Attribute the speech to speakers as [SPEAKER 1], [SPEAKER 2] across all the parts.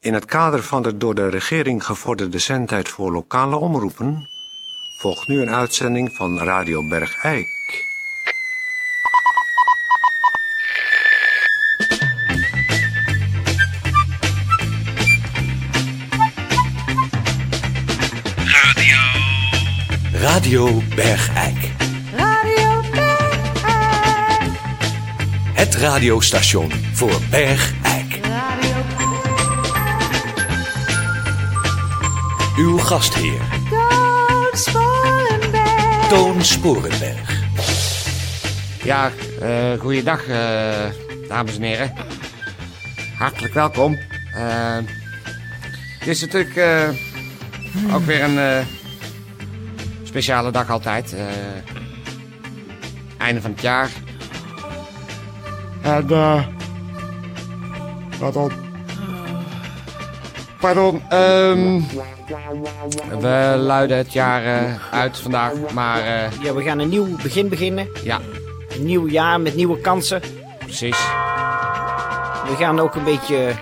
[SPEAKER 1] In het kader van de door de regering gevorderde zendtijd voor lokale omroepen volgt nu een uitzending van Radio Bergijk.
[SPEAKER 2] Radio Bergijk.
[SPEAKER 3] Radio Bergijk.
[SPEAKER 2] Het radiostation voor Bergijk.
[SPEAKER 3] Radio
[SPEAKER 2] Uw gastheer
[SPEAKER 3] Toon Sporenberg.
[SPEAKER 2] Toon Sporenberg.
[SPEAKER 4] Ja, eh goeiedag, eh, dames en heren. Hartelijk welkom. Eh, het is natuurlijk eh, ook weer een eh, speciale dag altijd. Eh, einde van het jaar. En, eh, pardon. Pardon, ehm, we luiden het jaar eh, uit vandaag, maar eh,
[SPEAKER 5] Ja, we gaan een nieuw begin beginnen.
[SPEAKER 4] ja,
[SPEAKER 5] Een nieuw jaar met nieuwe kansen.
[SPEAKER 4] precies.
[SPEAKER 5] We gaan ook een beetje eh,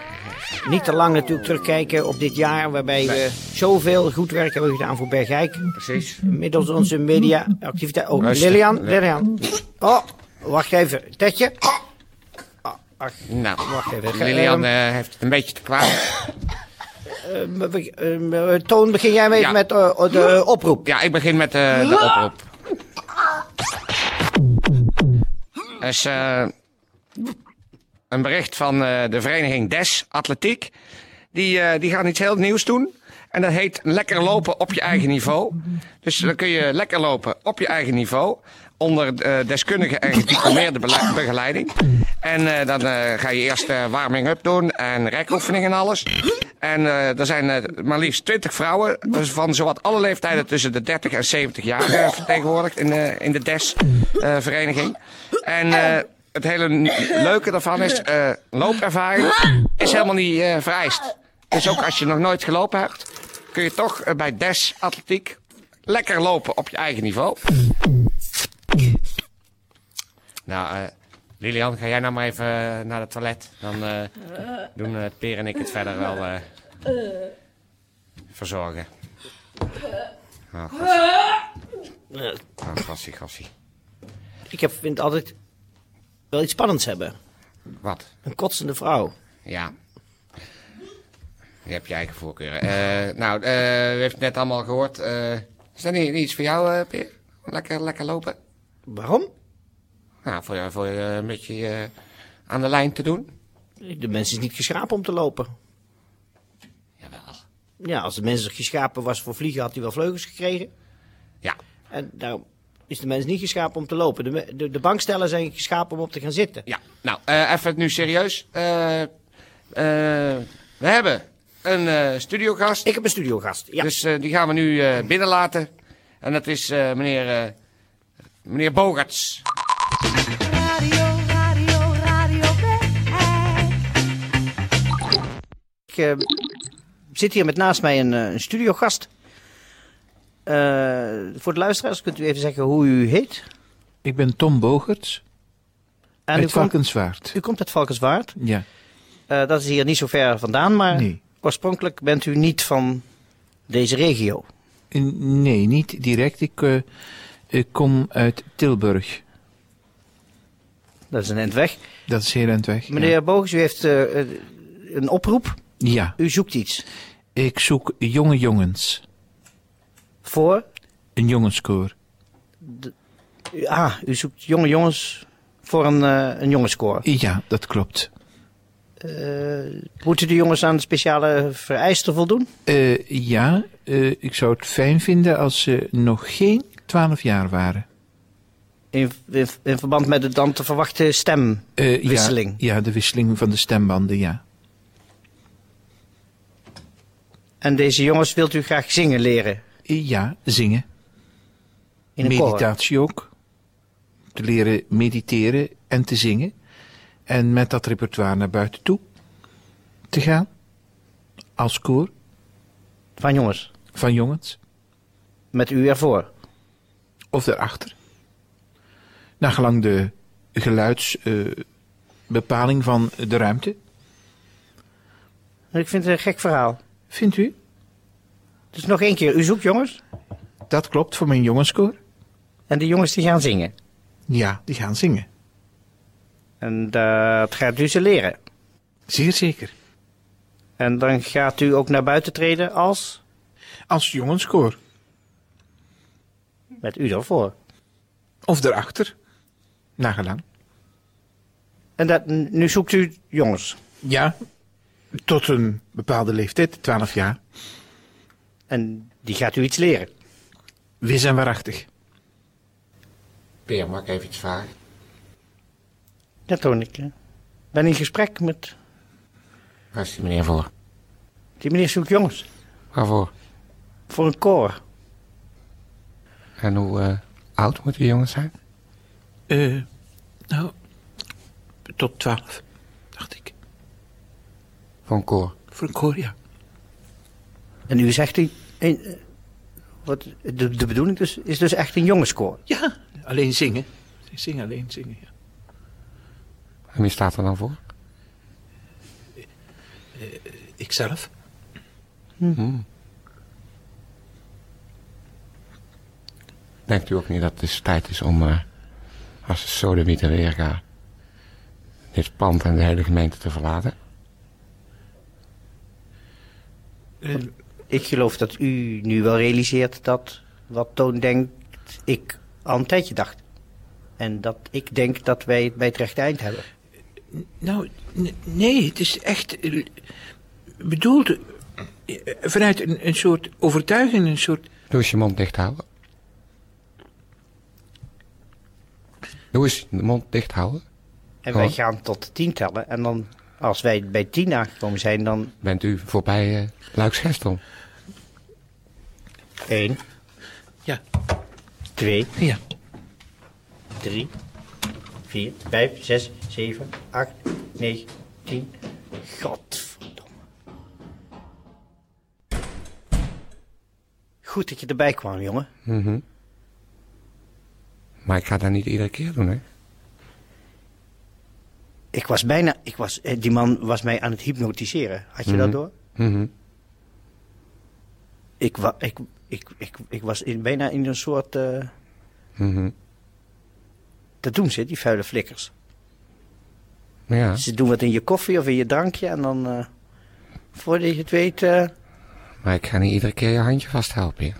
[SPEAKER 5] niet te lang natuurlijk terugkijken op dit jaar. Waarbij we zoveel goed werk hebben gedaan voor Bergijk.
[SPEAKER 4] Precies.
[SPEAKER 5] Middels onze mediaactiviteit. Oh,
[SPEAKER 4] Luister.
[SPEAKER 5] Lilian, Lilian. Oh, wacht even. Tetje. Oh, ach,
[SPEAKER 4] Nou,
[SPEAKER 5] wacht even. Ge-
[SPEAKER 4] Lilian
[SPEAKER 5] ehm,
[SPEAKER 4] eh, heeft het een beetje te kwaad.
[SPEAKER 5] eh, we- eh, eh, Toon, begin jij mee
[SPEAKER 4] Ja.
[SPEAKER 5] met eh, de eh, oproep.
[SPEAKER 4] Ja, ik begin met eh, de oproep. Er is eh, een bericht van eh, de vereniging DES Atletiek. Die, eh, die gaan iets heel nieuws doen. En dat heet lekker lopen op je eigen niveau. Dus dan kun je lekker lopen op je eigen niveau. Onder eh, deskundige en gediplomeerde bele- begeleiding. En eh, dan eh, ga je eerst eh, warming-up doen en rekoefeningen en alles. En eh, er zijn eh, maar liefst 20 vrouwen dus van zowat alle leeftijden tussen de 30 en 70 jaar eh, vertegenwoordigd in de, in de DES-vereniging. en eh, het hele n- leuke daarvan is, eh, loopervaring is helemaal niet eh, vereist. Dus ook als je nog nooit gelopen hebt, kun je toch eh, bij DES Atletiek lekker lopen op je eigen niveau. Nou, eh, Lilian, ga jij nou maar even eh, naar het toilet. Dan eh, doen eh, Peer en ik het verder wel eh, verzorgen. Oh, gossie. Oh, gossie, gossie.
[SPEAKER 5] Ik heb, vind altijd wel iets spannends hebben.
[SPEAKER 4] Wat?
[SPEAKER 5] Een kotsende vrouw.
[SPEAKER 4] Ja. Je hebt je eigen voorkeuren. Eh, nou, eh u heeft het net allemaal gehoord. Eh, is dat niet, niet iets voor jou, eh, Peer? Lekker, lekker lopen?
[SPEAKER 5] Waarom?
[SPEAKER 4] Nou, voor, voor eh, een beetje eh, aan de lijn te doen?
[SPEAKER 5] De mens is niet geschapen om te lopen.
[SPEAKER 4] Jawel.
[SPEAKER 5] Ja, als de mens geschapen was voor vliegen, had hij wel vleugels gekregen.
[SPEAKER 4] Ja,
[SPEAKER 5] En daarom is de mens niet geschapen om te lopen. De, me- de, de bankstellen zijn geschapen om op te gaan zitten.
[SPEAKER 4] ja. Nou, eh, even nu serieus. Eh, eh, we hebben een eh, studiogast.
[SPEAKER 5] Ik heb een studiogast. Ja,
[SPEAKER 4] Dus eh, die gaan we nu eh binnenlaten. En dat is eh, meneer, eh, meneer Bogarts.
[SPEAKER 3] Radio, radio, radio Bergijk.
[SPEAKER 5] ik eh, zit hier met naast mij een, eh, een studiogast. Eh, voor de luisteraars kunt u even zeggen hoe u heet.
[SPEAKER 6] Ik ben Tom Bogerts
[SPEAKER 5] En u komt,
[SPEAKER 6] uit Varkenswaard.
[SPEAKER 5] u komt uit Valkenswaard.
[SPEAKER 6] Ja,
[SPEAKER 5] Eh, dat is hier niet zo ver vandaan, maar
[SPEAKER 6] nee.
[SPEAKER 5] oorspronkelijk bent u niet van deze regio.
[SPEAKER 6] N- Nee, niet direct. Ik, eh, ik kom uit Tilburg.
[SPEAKER 5] Dat is een eind weg.
[SPEAKER 6] Dat is heel eind weg. ja.
[SPEAKER 5] Meneer Bogus, u heeft eh, eh, een oproep.
[SPEAKER 6] Ja,
[SPEAKER 5] U zoekt iets
[SPEAKER 6] ik zoek jonge jongens.
[SPEAKER 5] voor
[SPEAKER 6] Een jongenskoor.
[SPEAKER 5] U- Ah, u zoekt jonge jongens voor een, eh een jongenskoor.
[SPEAKER 6] Ja, dat klopt.
[SPEAKER 5] Eh, moeten de jongens aan speciale vereisten voldoen?
[SPEAKER 6] Eh, ja, eh, ik zou het fijn vinden als ze nog geen 12 jaar waren.
[SPEAKER 5] In, in, in verband met de dan te verwachten stem.
[SPEAKER 6] Eh, ja,
[SPEAKER 5] Wisseling.
[SPEAKER 6] Ja, de wisseling van de stembanden, ja.
[SPEAKER 5] En deze jongens wilt u graag zingen leren
[SPEAKER 6] Eh, ja, zingen.
[SPEAKER 5] in een koor.
[SPEAKER 6] meditatie ook. Te leren mediteren en te zingen. En met dat repertoire naar buiten toe te gaan. Als koor
[SPEAKER 5] Van jongens,
[SPEAKER 6] van jongens.
[SPEAKER 5] met u ervoor.
[SPEAKER 6] Of daarachter. Naar gelang de eh, geluidsbepaling van de ruimte.
[SPEAKER 5] Ik vind het een gek verhaal.
[SPEAKER 6] Vindt u?
[SPEAKER 5] Dus nog één keer, u zoekt jongens.
[SPEAKER 6] Dat klopt voor mijn jongenskoor.
[SPEAKER 5] En de jongens die gaan zingen.
[SPEAKER 6] Ja, die gaan zingen.
[SPEAKER 5] En dat gaat u ze leren.
[SPEAKER 6] Zeer zeker.
[SPEAKER 5] En dan gaat u ook naar buiten treden als...
[SPEAKER 6] Als jongenskoor.
[SPEAKER 5] Met u dan voor.
[SPEAKER 6] Of daarachter. Nagelang.
[SPEAKER 5] En dat, nu zoekt u jongens.
[SPEAKER 6] Ja, tot een bepaalde leeftijd, 12 jaar.
[SPEAKER 5] En die gaat u iets leren.
[SPEAKER 6] Wis en waarachtig.
[SPEAKER 7] Peer, mag ik even iets vragen?
[SPEAKER 5] Dat toon ik. hè. ben in gesprek met...
[SPEAKER 7] Waar is die meneer voor?
[SPEAKER 5] Die meneer zoekt jongens.
[SPEAKER 7] Waarvoor?
[SPEAKER 5] Voor een koor.
[SPEAKER 7] En hoe eh, oud moet die jongens zijn?
[SPEAKER 6] Eh, nou, tot 12, dacht ik.
[SPEAKER 7] Voor een koor.
[SPEAKER 6] Voor een koor, ja.
[SPEAKER 5] En u zegt u... een- eh, wat, de, de bedoeling dus, is dus echt een jongenskoor.
[SPEAKER 6] Ja, alleen zingen. Zingen, alleen zingen, ja.
[SPEAKER 7] En wie staat er dan voor?
[SPEAKER 6] Ikzelf.
[SPEAKER 7] Denkt u ook niet dat het dus tijd is om, eh als de sodemieter weer gaat, dit pand en de hele gemeente te verlaten?
[SPEAKER 6] Eh,
[SPEAKER 5] Ik geloof dat u nu wel realiseert dat wat Toon denkt, ik al een tijdje dacht. En dat ik denk dat wij het bij het rechte eind hebben.
[SPEAKER 6] Nou, n- nee, het is echt eh, bedoeld eh, vanuit een, een soort overtuiging, een soort...
[SPEAKER 7] Doe eens je mond dicht houden. Doe eens de mond dicht houden.
[SPEAKER 5] En wij
[SPEAKER 7] Oh.
[SPEAKER 5] gaan tot tien tellen. En dan, als wij bij tien aangekomen zijn, dan
[SPEAKER 7] Bent u voorbij eh Luiksgestel?
[SPEAKER 5] één,
[SPEAKER 6] Ja,
[SPEAKER 5] twee,
[SPEAKER 6] ja.
[SPEAKER 5] drie, vier, vijf, zes, zeven, acht, negen, tien. Godverdomme. Goed dat je erbij kwam, jongen.
[SPEAKER 7] Maar ik ga dat niet iedere keer doen, hè?
[SPEAKER 5] Ik was bijna, ik was, eh, die man was mij aan het hypnotiseren. Had je dat door?
[SPEAKER 7] Mhm.
[SPEAKER 5] Ik, wa, ik, ik, ik, ik was in, bijna in een soort, eh,
[SPEAKER 7] Mhm.
[SPEAKER 5] dat doen ze, die vuile flikkers.
[SPEAKER 7] Ja,
[SPEAKER 5] Ze doen wat in je koffie of in je drankje en dan, eh, voordat je het weet, eh,
[SPEAKER 7] maar ik ga niet iedere keer je handje vasthouden, Peer.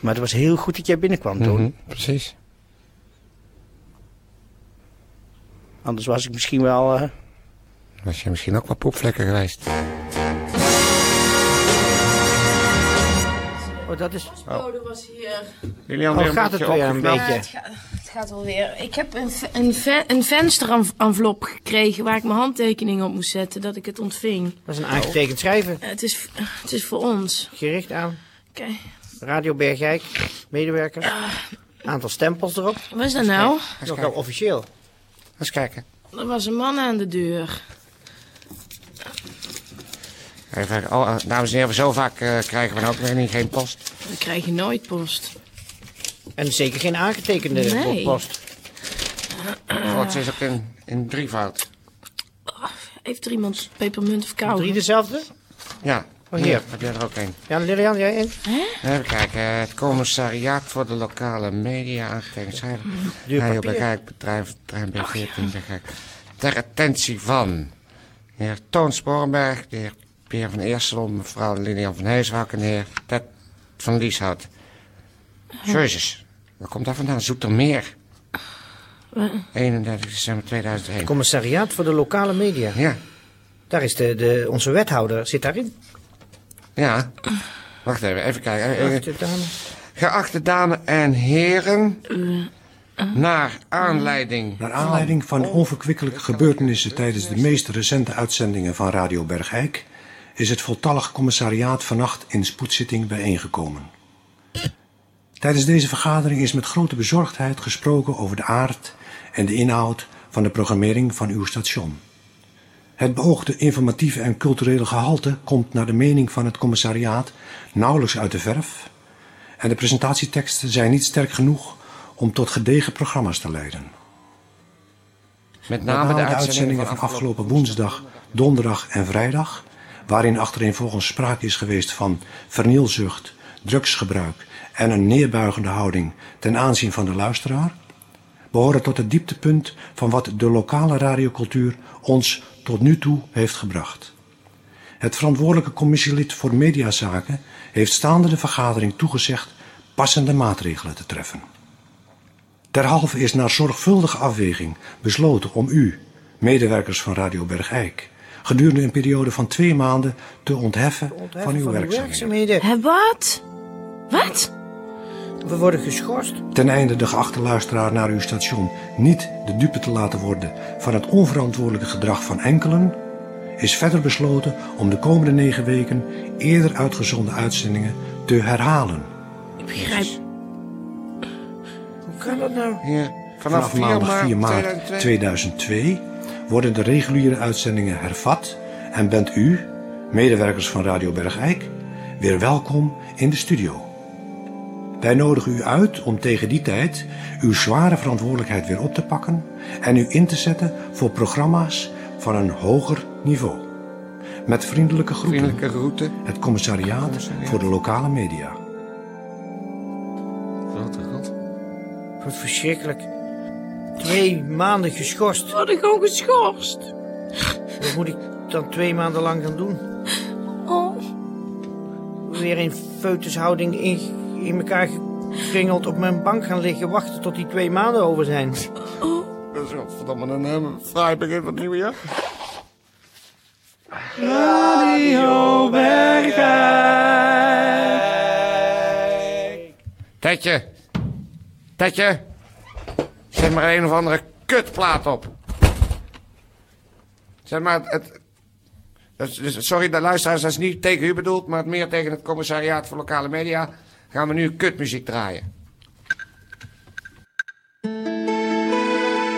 [SPEAKER 5] maar het was heel goed dat jij binnenkwam, Toon.
[SPEAKER 7] Mhm, Precies.
[SPEAKER 5] Anders was ik misschien wel, eh,
[SPEAKER 7] Was je misschien ook wel poepvlekken geweest?
[SPEAKER 5] oh, dat is,
[SPEAKER 8] postbode was hier.
[SPEAKER 4] Lilian,
[SPEAKER 5] oh,
[SPEAKER 4] weer een
[SPEAKER 5] gaat het
[SPEAKER 4] beetje
[SPEAKER 5] weer een
[SPEAKER 4] opgeknapt.
[SPEAKER 8] Maar het,
[SPEAKER 5] beetje.
[SPEAKER 8] gaat, het gaat alweer. Ik heb een, ve- een, ve- een vensterenvelop gekregen waar ik mijn handtekening op moest zetten dat ik het ontving. Eh,
[SPEAKER 5] Dat is een aangetekend schrijven,
[SPEAKER 8] Het is, het is voor ons.
[SPEAKER 5] gericht aan
[SPEAKER 8] Oké.
[SPEAKER 5] Radio Bergijk, medewerkers,
[SPEAKER 8] Ah.
[SPEAKER 5] aantal stempels erop.
[SPEAKER 8] Wat is dat nou?
[SPEAKER 5] Nogal officieel.
[SPEAKER 7] Eens kijken.
[SPEAKER 8] Er was een man aan de deur.
[SPEAKER 7] Even, oh, eh, dames en heren, zo vaak eh, krijgen we nou ook weer niet geen post.
[SPEAKER 8] We krijgen nooit post.
[SPEAKER 5] En zeker geen aangetekende
[SPEAKER 8] Nee.
[SPEAKER 5] post.
[SPEAKER 7] Oh, het is ook in, in drievoud.
[SPEAKER 8] Heeft er iemand pepermunt of kou?
[SPEAKER 5] Drie dezelfde?
[SPEAKER 7] Ja.
[SPEAKER 5] Oh, hier.
[SPEAKER 7] Heb jij er ook een?
[SPEAKER 5] Ja, Lilian, jij één?
[SPEAKER 7] Even kijken. eh, Het commissariaat voor de lokale media aangetekend. schrijven.
[SPEAKER 5] Duur
[SPEAKER 7] Radio
[SPEAKER 5] papier.
[SPEAKER 7] Bergijk, bedrijf Trein B14 Bergijk. Ter attentie van de heer Toon Sporenberg, de heer Peer van Eerstelom, mevrouw Lilian van Heeswak en de heer Ted van Lieshout. Jezus, waar komt dat vandaan? Zoekt er meer. 31 december 2001.
[SPEAKER 5] Commissariaat voor de lokale media.
[SPEAKER 7] Ja,
[SPEAKER 5] Daar is de, de, onze wethouder, zit daarin.
[SPEAKER 7] ja. Wacht even, even kijken. Eh, eh,
[SPEAKER 5] Wacht, dame.
[SPEAKER 7] Geachte dames en heren, naar aanleiding
[SPEAKER 1] Naar aanleiding van onverkwikkelijke gebeurtenissen tijdens de meest recente uitzendingen van Radio Bergijk is het voltallig commissariaat vannacht in spoedzitting bijeengekomen. Tijdens deze vergadering is met grote bezorgdheid gesproken over de aard en de inhoud van de programmering van uw station. Het beoogde informatieve en culturele gehalte komt naar de mening van het commissariaat nauwelijks uit de verf en de presentatieteksten zijn niet sterk genoeg om tot gedegen programma's te leiden.
[SPEAKER 7] met
[SPEAKER 1] Na
[SPEAKER 7] name de uitzendingen
[SPEAKER 1] van afgelopen woensdag, donderdag en vrijdag waarin achtereenvolgens sprake is geweest van vernielzucht, drugsgebruik en een neerbuigende houding ten aanzien van de luisteraar, behoren tot het dieptepunt van wat de lokale radiocultuur ons tot nu toe heeft gebracht. Het verantwoordelijke commissielid voor mediazaken heeft staande de vergadering toegezegd passende maatregelen te treffen. Derhalve is na zorgvuldige afweging besloten om u, medewerkers van Radio Bergijk, gedurende een periode van twee maanden te ontheffen, van uw werkzaamheden.
[SPEAKER 8] Hè, wat? Wat?
[SPEAKER 5] We worden geschorst.
[SPEAKER 1] Ten einde de geachte luisteraar naar uw station niet de dupe te laten worden van het onverantwoordelijke gedrag van enkelen, is verder besloten om de komende negen weken eerder uitgezonden uitzendingen te herhalen.
[SPEAKER 8] Ik begrijp.
[SPEAKER 5] Hoe kan dat nou?
[SPEAKER 4] Hier,
[SPEAKER 1] Vanaf
[SPEAKER 4] vanaf, 4
[SPEAKER 1] maandag
[SPEAKER 4] maart
[SPEAKER 1] 4 maart
[SPEAKER 4] 2002.
[SPEAKER 1] 2002 worden de reguliere uitzendingen hervat en bent u, medewerkers van Radio Bergijk, weer welkom in de studio. Wij nodigen u uit om tegen die tijd uw zware verantwoordelijkheid weer op te pakken en u in te zetten voor programma's van een hoger niveau. Met vriendelijke groeten,
[SPEAKER 4] Vriendelijke route.
[SPEAKER 1] het commissariaat voor de lokale media.
[SPEAKER 4] Grote god.
[SPEAKER 5] Wat verschrikkelijk. Twee maanden geschorst.
[SPEAKER 8] We worden gewoon geschorst.
[SPEAKER 5] Wat moet ik dan twee maanden lang gaan doen?
[SPEAKER 8] Oh,
[SPEAKER 5] Weer in feutushouding in, in elkaar gekringeld op mijn bank gaan liggen wachten tot die twee maanden over zijn.
[SPEAKER 4] Dat is godverdomme een eh, fraai begin van het nieuwe jaar.
[SPEAKER 9] Tetje. Tetje. Zet maar een of andere kutplaat op.
[SPEAKER 4] Zeg maar, het- het, dat is- dus, sorry de luisteraars, dat is niet tegen u bedoeld, maar meer tegen het commissariaat voor lokale media. Gaan we nu kutmuziek draaien.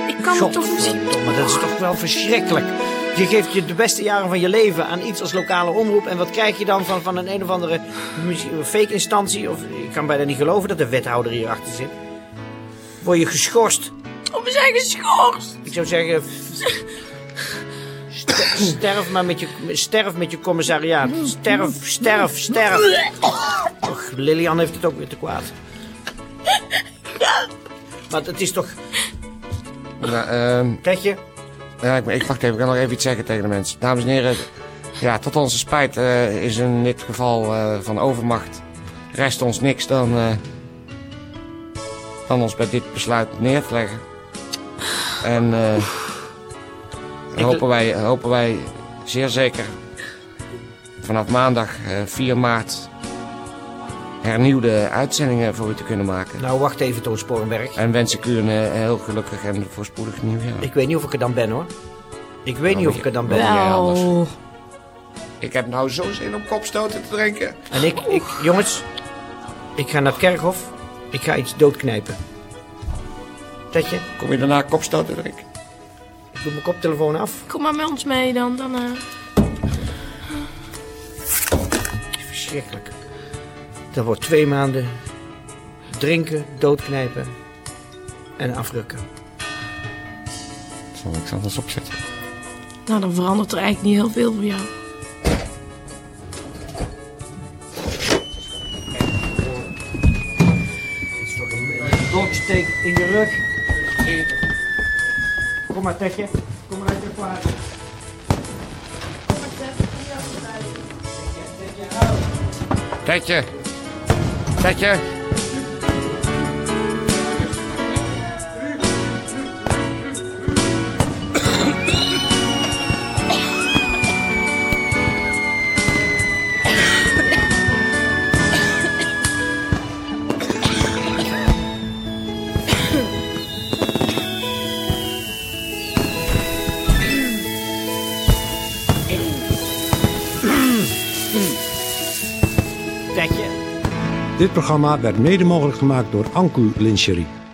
[SPEAKER 8] ik kan het toch niet.
[SPEAKER 5] maar dat is toch wel verschrikkelijk. Je geeft je de beste jaren van je leven aan iets als lokale omroep. En wat krijg je dan van, van een een of andere muzie- fake instantie? Of ik kan bijna niet geloven dat de wethouder hierachter zit. Word je geschorst.
[SPEAKER 8] Oh, we zijn geschorst.
[SPEAKER 5] Ik zou zeggen. ster- Sterf maar met je, sterf met je commissariaat. Sterf, sterf, sterf. Och, Lilian heeft het ook weer te kwaad. Maar het is toch.
[SPEAKER 4] Nou, ehm,
[SPEAKER 5] Kijk je?
[SPEAKER 4] ja, ik, ik, wacht even, ik kan nog even iets zeggen tegen de mensen. Dames en heren, ja, tot onze spijt eh, is in dit geval eh, van overmacht rest ons niks dan, eh, dan ons bij dit besluit neer te leggen. En eh, hopen, wij, hopen wij zeer zeker vanaf maandag eh, 4 maart hernieuwde uitzendingen voor u te kunnen maken.
[SPEAKER 5] Nou, wacht even, Toon Sporenberg.
[SPEAKER 4] En wens ik u een eh, heel gelukkig en voorspoedig nieuwjaar.
[SPEAKER 5] Ik weet niet of ik er dan ben hoor. Ik weet niet of ik er dan ben.
[SPEAKER 8] Wel.
[SPEAKER 4] Ik heb nou zo zin om kopstoten te drinken.
[SPEAKER 5] En ik, ik, jongens, ik ga naar het kerkhof. Ik ga iets doodknijpen. Tetje,
[SPEAKER 4] Kom je daarna kopstoten drinken?
[SPEAKER 5] ik doe mijn koptelefoon af.
[SPEAKER 8] Kom maar met ons mee dan. dan eh.
[SPEAKER 5] Verschrikkelijk. Dat wordt twee maanden drinken, doodknijpen en afrukken.
[SPEAKER 4] Zal ik ze anders opzetten?
[SPEAKER 8] Nou, dan verandert er eigenlijk niet heel veel voor jou.
[SPEAKER 5] Bloksteek in je rug. Kom maar, Tetje. Kom maar uit je plaats.
[SPEAKER 9] Tetje. Tetje.
[SPEAKER 5] Tetje.
[SPEAKER 1] Dit programma werd mede mogelijk gemaakt door Anku Lincherie.